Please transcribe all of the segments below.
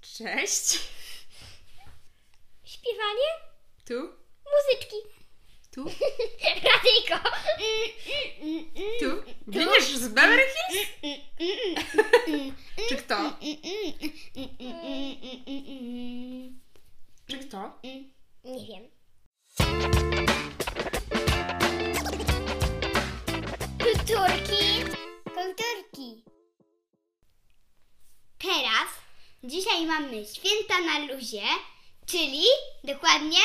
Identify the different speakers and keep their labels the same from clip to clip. Speaker 1: Cześć.
Speaker 2: Śpiewanie?
Speaker 1: Tu,
Speaker 2: Muzyczki.
Speaker 1: tu,
Speaker 2: Radyjko.
Speaker 1: tu. Giniesz z Beverly Hills? Czy
Speaker 2: Mm-hmm.
Speaker 1: kto? Czy kto?
Speaker 2: Nie wiem. Kulturki. Kulturki. Teraz, dzisiaj mamy święta na luzie, czyli dokładnie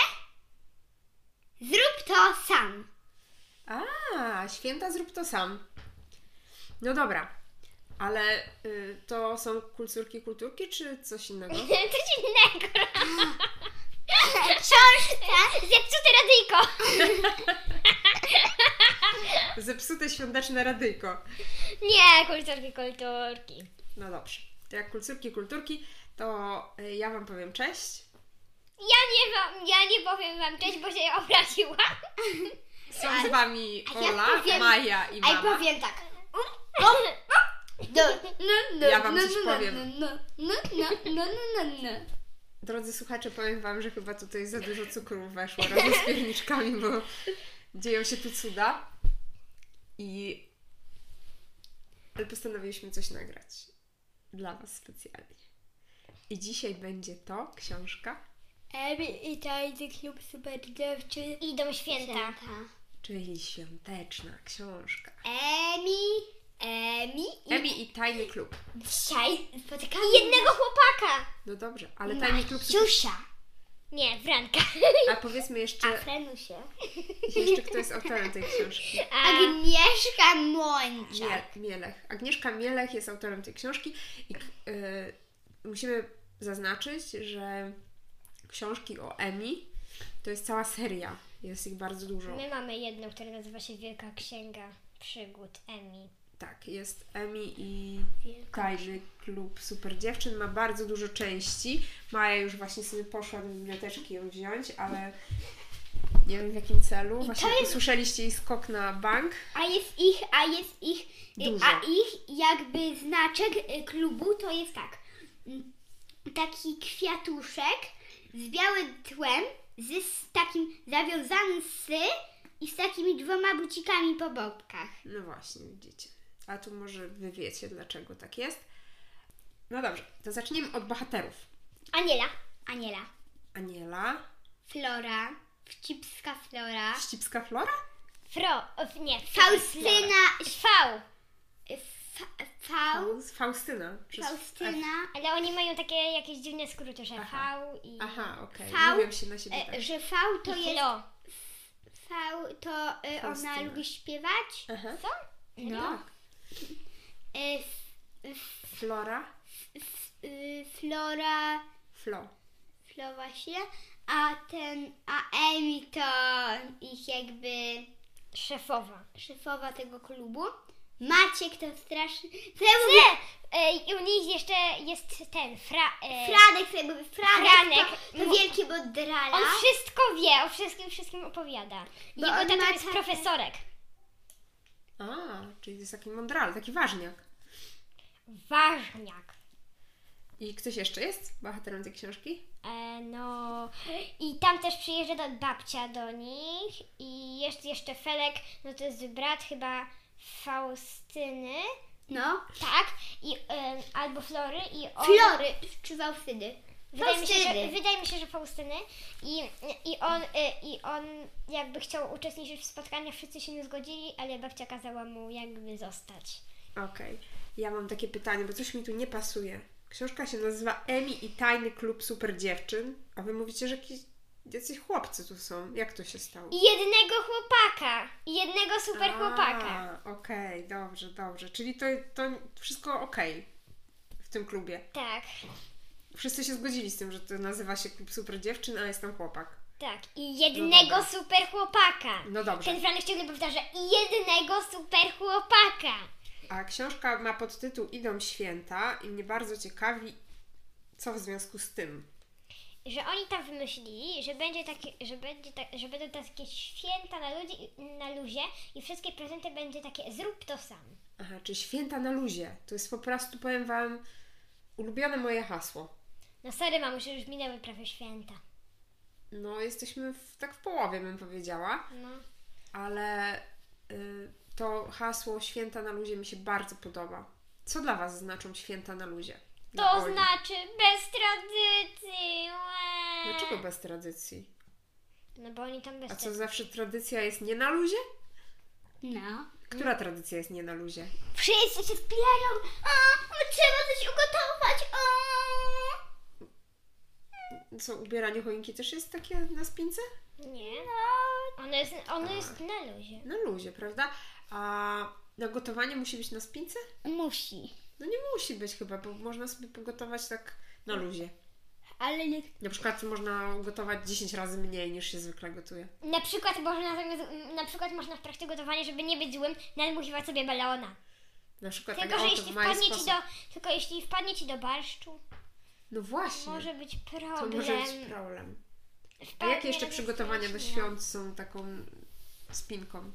Speaker 2: zrób to sam.
Speaker 1: A, święta zrób to sam. No dobra, ale y, to są kulturki, kulturki czy coś innego?
Speaker 2: Coś innego. Książka. Zepsute radyjko.
Speaker 1: Zepsute świąteczne radyjko.
Speaker 2: Nie, kulturki, kulturki.
Speaker 1: No dobrze, to jak kulturki, kulturki, to y, ja Wam powiem cześć.
Speaker 2: Ja nie, wam, ja nie powiem wam cześć, bo się obraziłam.
Speaker 1: Są z Wami
Speaker 2: a ja
Speaker 1: Ola,
Speaker 2: powiem-
Speaker 1: Maja i mama.
Speaker 2: tak. Do, no, no,
Speaker 1: Ja wam
Speaker 2: no,
Speaker 1: coś
Speaker 2: no,
Speaker 1: powiem.
Speaker 2: No, no, no, no, no, no, no.
Speaker 1: Drodzy słuchacze, powiem Wam, że chyba tutaj za dużo cukru weszło razem z pierniczkami, bo dzieją się tu cuda. I postanowiliśmy coś nagrać dla Was specjalnie. I dzisiaj będzie to książka,
Speaker 3: Emi i Tajdy Klub Super Dziewczyn.
Speaker 2: Idą święta.
Speaker 1: czyli świąteczna książka.
Speaker 2: Emi, Emi i
Speaker 1: Emi i Tajny Klub.
Speaker 2: dzisiaj spotykamy jednego chłopaka.
Speaker 1: No dobrze, ale Tajny Klub...
Speaker 2: Siusia. Nie, Franka.
Speaker 1: A powiedzmy jeszcze,
Speaker 2: Frenusie.
Speaker 1: jeszcze kto jest autorem tej książki.
Speaker 2: Agnieszka Mądrza.
Speaker 1: Mie- Mielech. Agnieszka Mielech jest autorem tej książki i k- y, musimy zaznaczyć, że książki o Emi to jest cała seria. Jest ich bardzo dużo.
Speaker 2: My mamy jedną, która nazywa się Wielka Księga Przygód Emi.
Speaker 1: Tak, jest Emi i Tajny Klub Super Dziewczyn. Ma bardzo dużo części. Maja już właśnie sobie poszła do biblioteczki ją wziąć, ale nie wiem w jakim celu. Właśnie usłyszeliście jej skok na bank.
Speaker 3: A jest ich, a jest ich, y,
Speaker 1: Dużo.
Speaker 3: a ich jakby znaczek y, klubu to jest tak. mm, Taki kwiatuszek z białym tłem, z, z takim zawiązanym sy i z takimi dwoma bucikami po bobkach.
Speaker 1: No właśnie, widzicie. A tu może wy wiecie, dlaczego tak jest. No dobrze, to zaczniemy od bohaterów.
Speaker 2: Aniela.
Speaker 3: Aniela.
Speaker 1: Aniela,
Speaker 3: Flora. Wcipska Flora.
Speaker 1: ścipska flora?
Speaker 2: Fro, of, nie.
Speaker 3: Faustyna.
Speaker 2: V.
Speaker 3: Fa, fał.
Speaker 1: Faust- Faustyna. Przez F.
Speaker 3: Faustyna.
Speaker 2: Ale oni mają takie jakieś dziwne skróty, że
Speaker 1: Aha.
Speaker 2: V i...
Speaker 1: Aha, okej.
Speaker 3: Fał-
Speaker 1: Mówią się na siebie
Speaker 3: E,
Speaker 1: tak.
Speaker 3: że V to
Speaker 2: i
Speaker 3: jest.
Speaker 2: Flo.
Speaker 3: V to y,
Speaker 1: Faustyna.
Speaker 3: ona lubi śpiewać.
Speaker 1: Aha.
Speaker 2: Co?
Speaker 3: e, No.
Speaker 1: Tak.
Speaker 3: Y, f, f,
Speaker 1: Flora,
Speaker 3: f, y, Flora,
Speaker 1: flo.
Speaker 3: Flo właśnie, a ten, a Emi to ich jakby
Speaker 2: Szefowa.
Speaker 3: szefowa tego klubu. Maciek to straszny,
Speaker 2: Ty!
Speaker 3: Fre-
Speaker 2: E, I u nich jeszcze jest ten, Fra... E,
Speaker 3: Franek, to jakby Franek,
Speaker 2: Franek.
Speaker 3: To, to wielki bodrala.
Speaker 2: On wszystko wie, o wszystkim wszystkim opowiada.
Speaker 3: Bo
Speaker 2: Jego
Speaker 3: No, on
Speaker 2: tata
Speaker 3: ma
Speaker 2: jest
Speaker 3: takie-
Speaker 2: profesorek.
Speaker 1: A, czyli to jest taki mądral, taki ważniak.
Speaker 2: Ważniak.
Speaker 1: I ktoś jeszcze jest bohaterem tej książki?
Speaker 2: E, no i tam też przyjeżdża do babcia do nich i jest jeszcze Felek, no to jest brat chyba Faustyny,
Speaker 3: No.
Speaker 2: tak? I em, albo Flory i on,
Speaker 3: Flory, czy Faustyny?
Speaker 2: wydaje, mi się, że,
Speaker 3: Faustyny.
Speaker 2: wydaje mi się, że Faustyny i, i, on, y, i on jakby chciał uczestniczyć w spotkaniach, wszyscy się nie zgodzili, ale babcia kazała mu jakby zostać.
Speaker 1: Okej. Ja mam takie pytanie, bo coś mi tu nie pasuje. Książka się nazywa Emi i Tajny Klub Super Dziewczyn, a wy mówicie, że jakieś, jacyś chłopcy tu są. Jak to się stało?
Speaker 2: I jednego chłopaka, i jednego super chłopaka.
Speaker 1: A, Okej, dobrze, dobrze. Czyli to, to wszystko okej w tym klubie.
Speaker 2: Tak,
Speaker 1: Wszyscy się zgodzili z tym, że to nazywa się klub super dziewczyn, a jest tam chłopak.
Speaker 2: tak. I jednego
Speaker 1: No dobra.
Speaker 2: super chłopaka.
Speaker 1: No dobrze.
Speaker 2: Ten Franek ciągle powtarza i jednego super chłopaka.
Speaker 1: A książka ma podtytuł Idą święta i mnie bardzo ciekawi, co w związku z tym.
Speaker 2: Że oni tam wymyślili, że, będzie takie, że, będzie tak, że będą takie święta na, ludzi, na luzie i wszystkie prezenty będzie takie zrób to sam.
Speaker 1: Aha, czy święta na luzie. To jest po prostu, powiem Wam, ulubione moje hasło.
Speaker 2: No sorry mamusiu, już minęły prawie święta.
Speaker 1: No, jesteśmy w, tak w połowie, bym powiedziała,
Speaker 2: No.
Speaker 1: ale y, to hasło święta na luzie mi się bardzo podoba. Co dla Was znaczą święta na luzie? Dla
Speaker 2: To
Speaker 1: Oli.
Speaker 2: znaczy bez tradycji. łe.
Speaker 1: Dlaczego bez tradycji?
Speaker 2: No bo oni tam bez
Speaker 1: A co
Speaker 2: tradycji.
Speaker 1: zawsze tradycja jest nie na luzie?
Speaker 3: No.
Speaker 1: Która tradycja jest nie na luzie?
Speaker 3: Wszyscy się spierają. O, trzeba coś ugotować. O.
Speaker 1: Co, ubieranie choinki też jest takie na spince?
Speaker 2: Nie. Ono jest, ono jest na luzie.
Speaker 1: Na luzie, prawda? A na gotowanie musi być na spince?
Speaker 3: Musi.
Speaker 1: No nie musi być chyba, bo można sobie pogotować tak na luzie.
Speaker 3: Ale nie...
Speaker 1: Na przykład można gotować 10 razy mniej niż się zwykle gotuje.
Speaker 2: Na przykład można, zamiast- na przykład można w trakcie gotowania, żeby nie być złym, nadmuchiwać sobie balona.
Speaker 1: Na przykład
Speaker 2: Tylko,
Speaker 1: tak,
Speaker 2: że
Speaker 1: o, to
Speaker 2: jeśli
Speaker 1: w maju
Speaker 2: wpadnie ci
Speaker 1: sposób.
Speaker 2: do, tylko jeśli wpadnie ci do barszczu,
Speaker 1: No właśnie,
Speaker 2: może być problem.
Speaker 1: to może być problem. A jakie jeszcze przygotowania do świąt są taką spinką?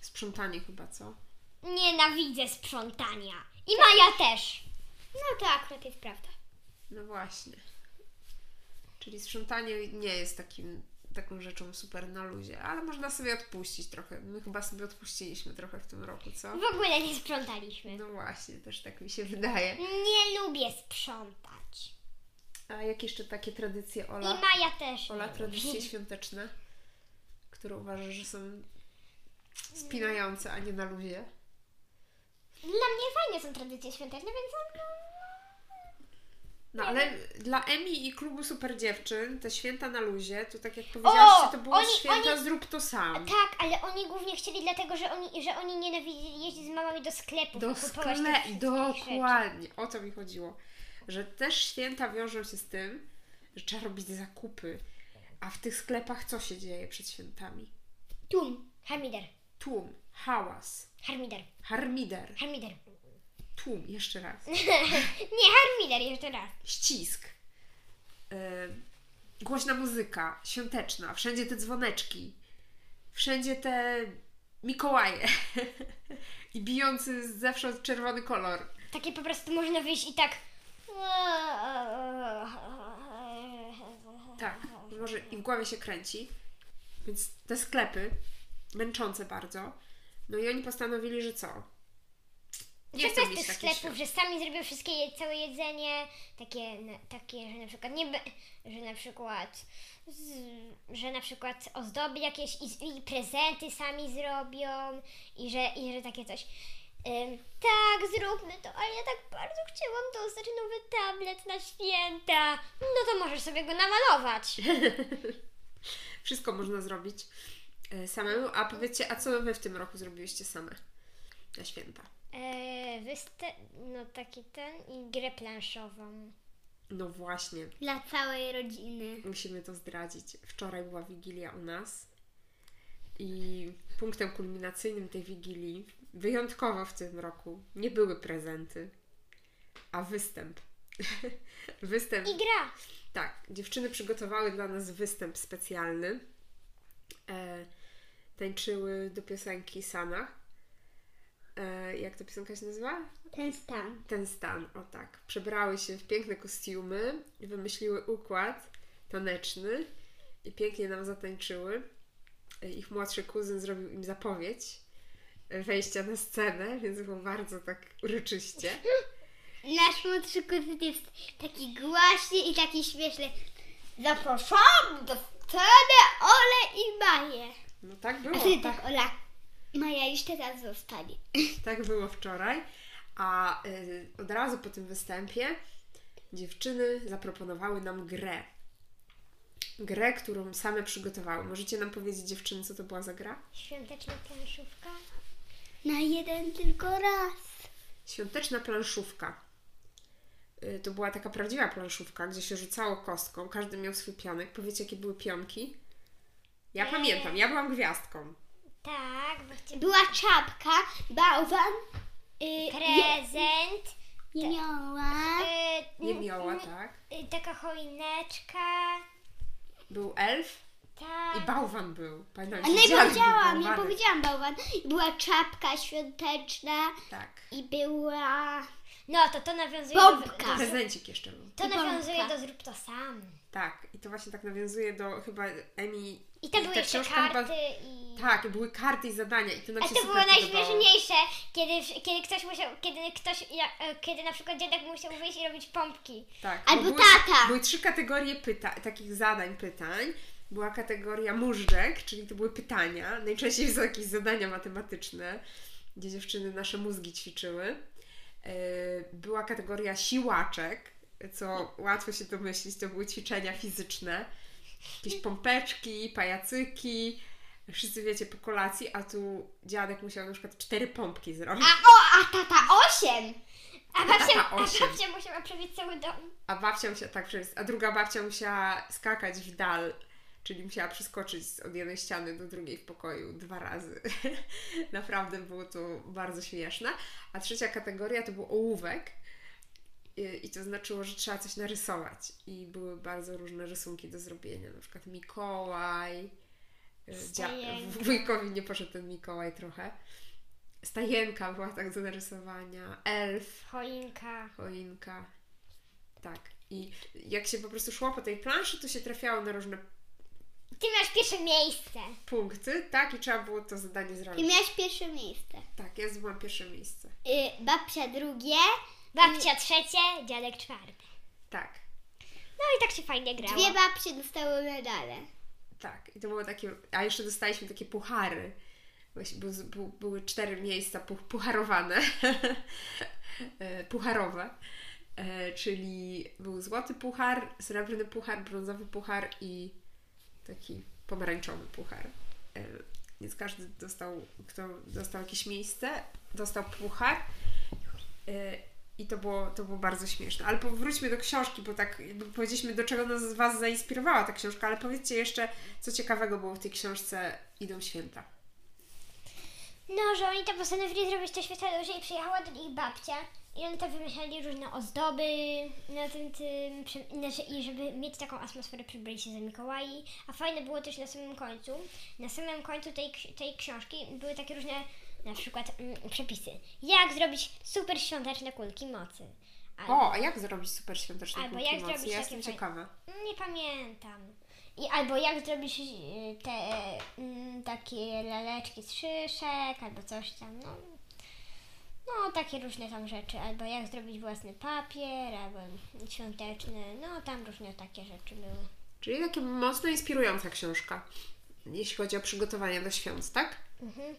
Speaker 1: Sprzątanie chyba, co?
Speaker 2: Nienawidzę sprzątania. I
Speaker 1: Tak.
Speaker 2: Maja też.
Speaker 3: No to akurat jest prawda.
Speaker 1: No właśnie. Czyli sprzątanie nie jest takim, taką rzeczą super na luzie, ale można sobie odpuścić trochę. My chyba sobie odpuściliśmy trochę w tym roku, co?
Speaker 2: W ogóle nie sprzątaliśmy.
Speaker 1: No właśnie, też tak mi się wydaje.
Speaker 2: Nie lubię sprzątać.
Speaker 1: A jak jeszcze takie tradycje
Speaker 2: I
Speaker 1: Ola?
Speaker 2: Maja też.
Speaker 1: Ola,
Speaker 2: nie
Speaker 1: tradycje
Speaker 2: lubi.
Speaker 1: świąteczne, które uważasz, że są spinające, a nie na luzie?
Speaker 2: Dla mnie fajne są tradycje świąteczne, więc no,
Speaker 1: No ale dla Emi i klubu Super Dziewczyn te święta na luzie, to tak jak
Speaker 2: O,
Speaker 1: powiedziałaś, to było
Speaker 2: oni-
Speaker 1: święta
Speaker 2: oni-
Speaker 1: zrób to sam.
Speaker 2: Tak, ale oni głównie chcieli dlatego, że oni, że oni nienawidzili jeździć z mamami do sklepu.
Speaker 1: Do
Speaker 2: kupować te
Speaker 1: skle...
Speaker 2: wszystkie rzeczy.
Speaker 1: Dokładnie, o to mi chodziło. Że też święta wiążą się z tym, że trzeba robić zakupy. A w tych sklepach co się dzieje przed świętami?
Speaker 2: Tum. Harmider.
Speaker 1: Tłum, hałas,
Speaker 2: Harmider.
Speaker 1: harmider,
Speaker 2: Harmider.
Speaker 1: tłum, jeszcze raz.
Speaker 2: Nie, harmider jeszcze raz.
Speaker 1: ścisk, yy, głośna muzyka, świąteczna, wszędzie te dzwoneczki, wszędzie te Mikołaje i bijący zawsze czerwony kolor.
Speaker 2: Takie po prostu można wyjść i tak.
Speaker 1: Tak, może i w głowie się kręci, więc te sklepy, męczące bardzo, no i oni postanowili, że co? Nie chcą
Speaker 2: Często jest
Speaker 1: mieć
Speaker 2: tych
Speaker 1: takich
Speaker 2: sklepów,
Speaker 1: świąt.
Speaker 2: że sami zrobią wszystkie je- całe jedzenie, takie, na- takie że na przykład nie be, że na przykład z, że na przykład ozdoby jakieś i, z- i prezenty sami zrobią i że, i że takie coś. Ym, tak, zróbmy to, ale ja tak bardzo chciałam dostać nowy tablet na święta. No to możesz sobie go namalować.
Speaker 1: Wszystko można zrobić e, samemu, a powiedzcie, a co wy w tym roku zrobiłyście same na święta?
Speaker 2: Yy, wysta- no taki ten i grę planszową.
Speaker 1: No właśnie,
Speaker 3: Dla całej rodziny.
Speaker 1: musimy to zdradzić. Wczoraj była wigilia u nas i punktem kulminacyjnym tej wigilii, wyjątkowo w tym roku, nie były prezenty, a występ. występ.
Speaker 2: I gra.
Speaker 1: Tak, dziewczyny przygotowały dla nas występ specjalny. E, tańczyły do piosenki Sana. E, jak ta piosenka się nazywa?
Speaker 3: Ten stan.
Speaker 1: ten stan, o tak. Przebrały się w piękne kostiumy, wymyśliły układ taneczny i pięknie nam zatańczyły. E, Ich młodszy kuzyn zrobił im zapowiedź e, wejścia na scenę, więc było bardzo tak uroczyście.
Speaker 3: Nasz młodszy kuzyn jest taki głaśny i taki śmieszny. Zapraszamy do wtedy Ole i Maję.
Speaker 1: No tak
Speaker 3: A
Speaker 1: było,
Speaker 3: ty
Speaker 1: tak,
Speaker 3: tak, Ola. Maja już teraz zostanie.
Speaker 1: tak było wczoraj. A y, od razu po tym występie dziewczyny zaproponowały nam grę. Grę, którą same przygotowały. Możecie nam powiedzieć, dziewczyny, co to była za gra?
Speaker 2: Świąteczna planszówka.
Speaker 3: Na jeden tylko raz.
Speaker 1: Świąteczna planszówka. Y, To była taka prawdziwa planszówka, gdzie się rzucało kostką, każdy miał swój pionek. Powiecie, jakie były pionki? Ja
Speaker 2: Eee.
Speaker 1: pamiętam, ja byłam gwiazdką.
Speaker 2: Tak, bo chciałam
Speaker 3: Była czapka, bałwan, y,
Speaker 2: prezent,
Speaker 3: jenioła,
Speaker 2: y,
Speaker 1: Nie
Speaker 2: n-
Speaker 1: miała,
Speaker 2: n-
Speaker 1: tak?
Speaker 2: y, taka choineczka,
Speaker 1: Był elf
Speaker 2: tak,
Speaker 1: i bałwan był. Pamiętam,
Speaker 3: Ale
Speaker 1: że
Speaker 3: nie
Speaker 1: dziadek
Speaker 3: no powiedziałam,
Speaker 1: był
Speaker 3: nie
Speaker 1: bałwanem.
Speaker 3: powiedziałam bałwan. Była czapka świąteczna
Speaker 1: Tak.
Speaker 3: i była...
Speaker 2: No to to nawiązuje
Speaker 3: Bombka.
Speaker 2: do... do
Speaker 1: Prezencik jeszcze był.
Speaker 2: to
Speaker 3: I bombka.
Speaker 2: nawiązuje do zrób to sam.
Speaker 1: Tak, i to właśnie tak nawiązuje do chyba Emi.
Speaker 2: I tam były
Speaker 1: ta
Speaker 2: jeszcze
Speaker 1: książka chyba-
Speaker 2: karty i...
Speaker 1: Tak, i były karty i zadania i to nam
Speaker 2: A
Speaker 1: się
Speaker 2: to było
Speaker 1: super podobało.
Speaker 2: najśmieszniejsze, kiedy, kiedy ktoś musiał, kiedy ktoś, ja, e, kiedy na przykład dziadek musiał wyjść i robić pompki.
Speaker 1: Tak.
Speaker 3: Albo
Speaker 1: bo były,
Speaker 3: tata.
Speaker 1: Były trzy kategorie pyta takich zadań, pytań. Była kategoria móżdżek, czyli to były pytania. Najczęściej są jakieś zadania matematyczne, gdzie dziewczyny nasze mózgi ćwiczyły. Yy, Była kategoria siłaczek, co łatwo się domyślić, to były ćwiczenia fizyczne. Jakieś pompeczki, pajacyki. Wszyscy wiecie po kolacji, a tu dziadek musiał na przykład cztery pompki zrobić.
Speaker 3: A o, a tata osiem!
Speaker 2: A babcia,
Speaker 1: Taka
Speaker 2: a
Speaker 1: osiem.
Speaker 2: babcia musiała przewieźć cały dom.
Speaker 1: A babcia musiała, tak, przez- a druga babcia musiała skakać w dal, czyli musiała przeskoczyć z- od jednej ściany do drugiej w pokoju dwa razy. Naprawdę było to bardzo śmieszne. A trzecia kategoria to był ołówek. I, I to znaczyło, że trzeba coś narysować. I były bardzo różne rysunki do zrobienia, na przykład Mikołaj. y, Dzia-
Speaker 2: Stajenka.
Speaker 1: wujkowi nie poszedł ten Mikołaj trochę. Stajenka była tak do narysowania. Elf.
Speaker 2: Choinka.
Speaker 1: Choinka. Tak. I jak się po prostu szło po tej planszy, to się trafiało na różne
Speaker 2: Ty masz pierwsze miejsce.
Speaker 1: punkty, tak? I trzeba było to zadanie
Speaker 3: Ty
Speaker 1: zrobić.
Speaker 3: miałaś pierwsze miejsce.
Speaker 1: Tak, ja zdobyłam pierwsze miejsce.
Speaker 3: Y, babcia drugie,
Speaker 2: Babcia
Speaker 3: Mm.
Speaker 2: trzecie, dziadek czwarty.
Speaker 1: Tak,
Speaker 2: No i tak się fajnie grało.
Speaker 3: Y, dwie babcie dostały medale.
Speaker 1: tak. I to było takie... A jeszcze dostaliśmy takie puchary. Właśnie był, był, były cztery miejsca puch, pucharowane. E, Pucharowe. E, Czyli był złoty puchar, srebrny puchar, brązowy puchar i taki pomarańczowy puchar. E, Więc każdy dostał, kto dostał jakieś miejsce, dostał puchar. E, I to było, to było bardzo śmieszne. Ale powróćmy do książki, bo tak jakby powiedzieliśmy, do czego nas Was zainspirowała ta książka, ale powiedzcie jeszcze, co ciekawego było w tej książce Idą Święta.
Speaker 2: No, że oni to postanowili zrobić to święta dłużej i przyjechała do nich babcia. I oni to wymyślali różne ozdoby na tym, tym przy- znaczy, i żeby mieć taką atmosferę, przybrali się za Mikołai. A fajne było też na samym końcu. Na samym końcu tej, ksi- tej książki były takie różne na przykład mm, przepisy. Jak zrobić super świąteczne kulki mocy. Albo-
Speaker 1: O, a jak zrobić super świąteczne
Speaker 2: Albo
Speaker 1: kulki
Speaker 2: jak
Speaker 1: mocy?
Speaker 2: zrobić
Speaker 1: Ja
Speaker 2: takie
Speaker 1: jestem
Speaker 2: fajne-
Speaker 1: ciekawa.
Speaker 2: Nie pamiętam. I albo jak zrobisz y, te mm, takie laleczki z szyszek, albo coś tam, no. No, takie różne tam rzeczy, albo jak zrobić własny papier, albo świąteczny, no tam różne takie rzeczy były.
Speaker 1: Czyli taka mocno inspirująca książka, jeśli chodzi o przygotowania do świąt, tak?
Speaker 2: Mhm.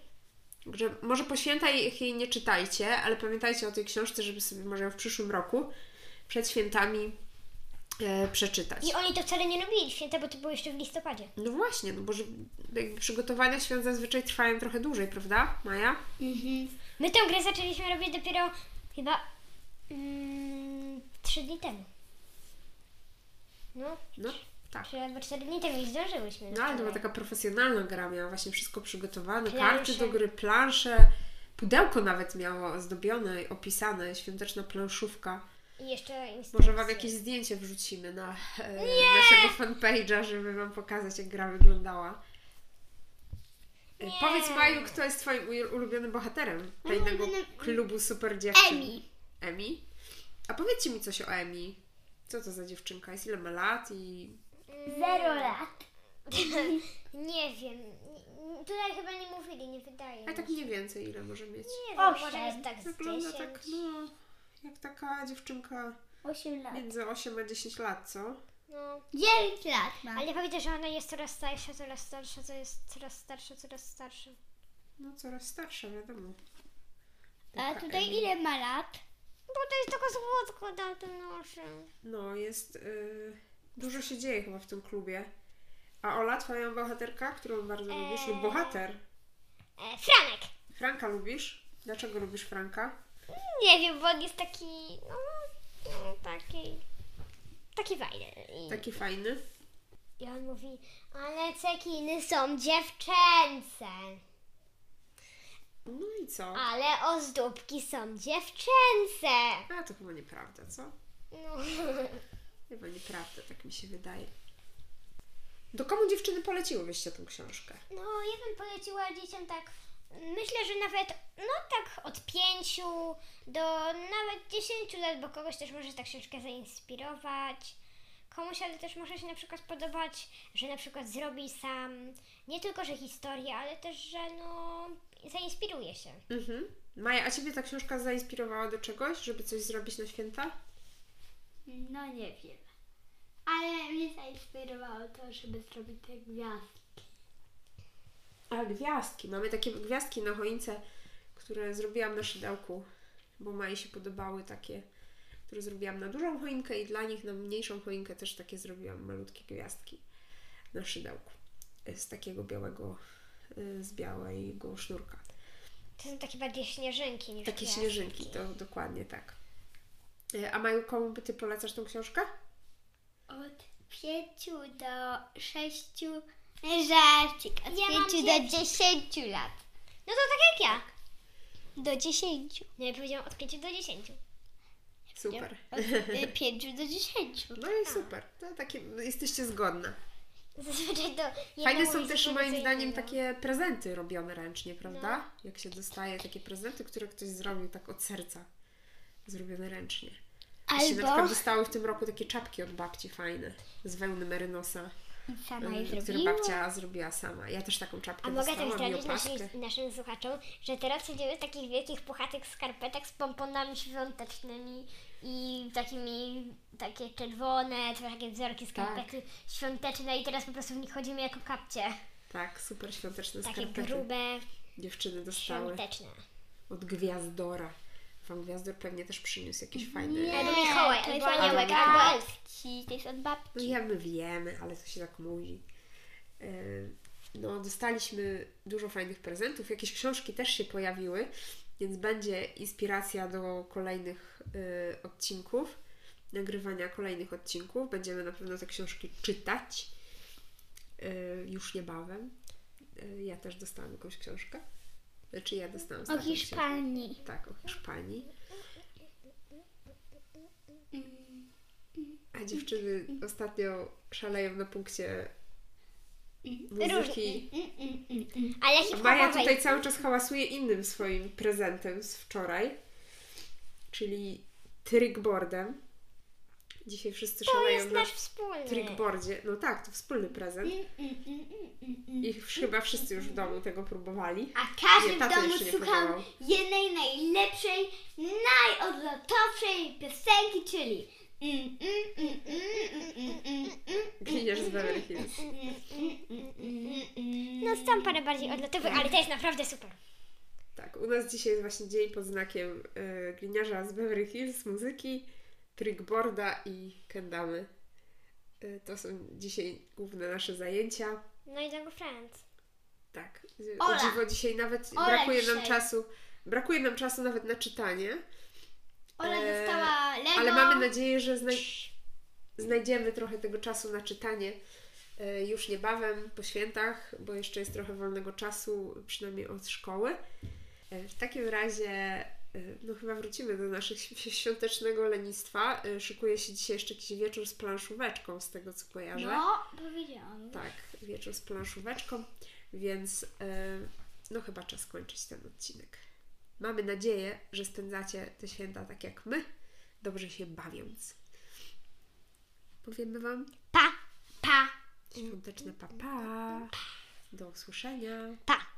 Speaker 1: Że może po święta ich jej nie czytajcie, ale pamiętajcie o tej książce, żeby sobie może ją w przyszłym roku przed świętami e, przeczytać.
Speaker 2: I oni to wcale nie robili w święta, bo to było jeszcze w listopadzie.
Speaker 1: No właśnie, no bo że, jakby przygotowania świąt zazwyczaj trwają trochę dłużej, prawda, Maja?
Speaker 2: My tę grę zaczęliśmy robić dopiero chyba mm, 3 dni temu. No,
Speaker 1: No, tak.
Speaker 2: 3 albo 4 dni temu i zdążyłyśmy.
Speaker 1: No ale to była
Speaker 2: Wczoraj.
Speaker 1: taka profesjonalna gra, miała właśnie wszystko przygotowane,
Speaker 2: Plansze.
Speaker 1: karty do gry, plansze, pudełko nawet miało ozdobione, i opisane, świąteczna planszówka.
Speaker 2: I jeszcze instrukcje.
Speaker 1: tak Może Wam jakieś zdjęcie wrzucimy na e, naszego fanpage'a, żeby Wam pokazać, jak gra wyglądała. E,
Speaker 2: Nie.
Speaker 1: Powiedz Maju, kto jest Twoim uj- ulubionym bohaterem tajnego
Speaker 3: ulubionym-
Speaker 1: klubu super dziewczyn?
Speaker 3: Emi.
Speaker 1: Emi? A powiedzcie mi coś o Emi. Co to za dziewczynka jest? Ile ma lat i...
Speaker 3: Zero lat.
Speaker 2: Nie wiem. Nie- Tutaj chyba nie mówili, nie wydaje
Speaker 1: A
Speaker 2: mi
Speaker 1: tak
Speaker 2: się.
Speaker 1: mniej więcej ile może mieć?
Speaker 2: Nie wiem,
Speaker 3: Osiem.
Speaker 2: może jest tak z
Speaker 1: Wygląda
Speaker 2: 10.
Speaker 1: tak, no... Jak taka dziewczynka
Speaker 3: Osiem
Speaker 2: Tak.
Speaker 3: lat.
Speaker 1: między 8 a 10 lat, co?
Speaker 2: No.
Speaker 3: Dziewięć lat ma.
Speaker 2: Ale powiedzę, że ona jest coraz starsza, coraz starsza, co jest coraz starsza, coraz starsza.
Speaker 1: No coraz starsza, wiadomo.
Speaker 3: A
Speaker 1: Taka
Speaker 3: tutaj
Speaker 1: Emi.
Speaker 3: ile ma lat?
Speaker 2: Bo to jest tylko złotko na tym noże.
Speaker 1: No, jest. y, dużo się dzieje chyba w tym klubie. A Ola, twoją bohaterka, którą bardzo lubisz,
Speaker 2: Eee.
Speaker 1: lub bohater.
Speaker 2: E, Franek!
Speaker 1: Franka lubisz? Dlaczego lubisz Franka?
Speaker 2: Nie wiem, bo on jest taki, no, no taki, taki fajny. I,
Speaker 1: Taki fajny.
Speaker 2: I on mówi, ale cekiny są dziewczęce.
Speaker 1: No i co?
Speaker 2: Ale ozdóbki są dziewczęce.
Speaker 1: A to chyba nieprawda, co?
Speaker 2: No.
Speaker 1: Chyba nieprawda, tak mi się wydaje. Do komu dziewczyny poleciłybyście tą książkę?
Speaker 2: no, ja bym poleciła dzieciom tak myślę, że nawet no tak od pięciu do nawet 10 lat, bo kogoś też może ta książka zainspirować. Komuś, ale też może się na przykład podobać, że na przykład zrobi sam nie tylko, że historię, ale też, że no zainspiruje się.
Speaker 1: Mhm. Maja, a Ciebie ta książka zainspirowała do czegoś, żeby coś zrobić na święta?
Speaker 3: No nie wiem. Ale mnie zainspirowało to, żeby zrobić te gwiazdy.
Speaker 1: A gwiazdki. Mamy takie gwiazdki na choince, które zrobiłam na szydełku, bo Maji się podobały takie, które zrobiłam na dużą choinkę i dla nich na mniejszą choinkę też takie zrobiłam malutkie gwiazdki na szydełku e, z takiego białego, y, z białego sznurka.
Speaker 2: To są takie bardziej śnieżynki niż
Speaker 1: Takie
Speaker 2: gwiazdki.
Speaker 1: śnieżynki, to dokładnie tak. Y, A Maju, komu by Ty polecasz tą książkę?
Speaker 3: Od pięciu do sześciu żarcik. Od
Speaker 2: Ja mam
Speaker 3: pięciu do dziesięciu lat.
Speaker 2: No to tak jak ja.
Speaker 3: Do dziesięciu.
Speaker 2: No ja powiedziałam od 5 do 10.
Speaker 1: Super.
Speaker 2: Y,
Speaker 3: Od pięciu do dziesięciu.
Speaker 1: No i super. To takie, jesteście zgodne.
Speaker 2: Zazwyczaj to
Speaker 1: Fajne
Speaker 2: jednemu
Speaker 1: są
Speaker 2: jest
Speaker 1: też
Speaker 2: to
Speaker 1: moim
Speaker 2: co
Speaker 1: zdaniem
Speaker 2: innego.
Speaker 1: takie prezenty robione ręcznie, prawda?
Speaker 2: No.
Speaker 1: Jak się dostaje takie prezenty, które ktoś zrobił tak od serca, zrobione ręcznie. Albo... się na przykład
Speaker 3: Albo
Speaker 1: dostały w tym roku takie czapki od babci fajne, z wełny merynosa,
Speaker 3: sama
Speaker 1: y,
Speaker 3: je
Speaker 1: które
Speaker 3: zrobiła.
Speaker 1: babcia zrobiła sama. Ja też taką czapkę
Speaker 2: A mogę
Speaker 1: dostałam
Speaker 2: też
Speaker 1: i
Speaker 2: zdradzić
Speaker 1: opaskę.
Speaker 2: naszym, naszym słuchaczom, że teraz siedzimy w takich wielkich, puchatych skarpetek z pomponami świątecznymi i takimi, takie czerwone, to takie wzorki
Speaker 1: Tak.
Speaker 2: skarpety świąteczne i teraz po prostu w nich chodzimy jako kapcie.
Speaker 1: Tak, super świąteczne
Speaker 2: Takie
Speaker 1: skarpety
Speaker 2: grube,
Speaker 1: dziewczyny dostały
Speaker 2: świąteczne.
Speaker 1: od Gwiazdora. Wam Gwiazdor pewnie też przyniósł jakieś fajne...
Speaker 2: Albo Mikołaj,
Speaker 3: to jest
Speaker 2: albo
Speaker 3: od
Speaker 2: aniołek,
Speaker 3: babci.
Speaker 2: albo
Speaker 3: To jest od babci.
Speaker 1: No ja my wiemy, ale to się tak mówi. Yy, No, dostaliśmy dużo fajnych prezentów. Jakieś książki też się pojawiły, więc będzie inspiracja do kolejnych yy, odcinków, nagrywania kolejnych odcinków. Będziemy na pewno te książki czytać yy, już niebawem. Yy, Ja też dostałam jakąś książkę. Znaczy ja dostałam
Speaker 3: O
Speaker 1: ostatnią książkę.
Speaker 3: Hiszpanii.
Speaker 1: Tak, o Hiszpanii. A dziewczyny ostatnio szaleją na punkcie muzyki.
Speaker 3: Mm,
Speaker 2: Ale hip
Speaker 1: Maja tutaj cały czas hałasuje innym swoim prezentem z wczoraj, czyli trickboardem. Dzisiaj wszyscy
Speaker 2: to
Speaker 1: szaleją
Speaker 2: jest
Speaker 1: na
Speaker 2: nasz wspólny.
Speaker 1: trickboardzie. No tak, to wspólny prezent.
Speaker 3: Mm,
Speaker 1: I chyba wszyscy już w domu tego próbowali.
Speaker 3: A każdy
Speaker 1: Nie,
Speaker 3: w
Speaker 1: tato
Speaker 3: domu
Speaker 1: jeszcze nie
Speaker 3: słuchał
Speaker 1: próbował.
Speaker 3: jednej najlepszej, najodlotowszej piosenki, czyli mm, mm, mm, mm, mm, mm, mm,
Speaker 1: Gliniarz z Beverly Hills.
Speaker 3: mm, mm.
Speaker 2: No tam parę bardziej odlotowych, ale to jest naprawdę super.
Speaker 1: Tak, u nas dzisiaj jest właśnie dzień pod znakiem y, gliniarza z Beverly Hills, muzyki, trickboarda i kendamy. Y, to są dzisiaj główne nasze zajęcia.
Speaker 2: No i Django Friends.
Speaker 1: Tak. y, O
Speaker 3: Ola.
Speaker 1: dziwo dzisiaj nawet
Speaker 3: Ola
Speaker 1: brakuje nam
Speaker 3: dzisiaj.
Speaker 1: czasu. Brakuje nam czasu nawet na czytanie,
Speaker 3: Ola
Speaker 1: Eee,
Speaker 3: dostała Lego.
Speaker 1: ale mamy nadzieję, że znaj- znajdziemy trochę tego czasu na czytanie y, już niebawem po świętach, bo jeszcze jest trochę wolnego czasu, przynajmniej od szkoły. Y, W takim razie, y, no chyba wrócimy do naszych świ- świątecznego lenistwa. Y, Szykuje się dzisiaj jeszcze jakiś wieczór z planszóweczką, z tego co kojarzę.
Speaker 3: No, powiedziałam.
Speaker 1: Tak, wieczór z planszóweczką, więc y, no chyba czas kończyć ten odcinek. Mamy nadzieję, że spędzacie te święta tak jak my, dobrze się bawiąc. Powiemy Wam
Speaker 2: Pa!
Speaker 3: Pa.
Speaker 1: świąteczne papa. Pa. Do usłyszenia.
Speaker 2: Pa!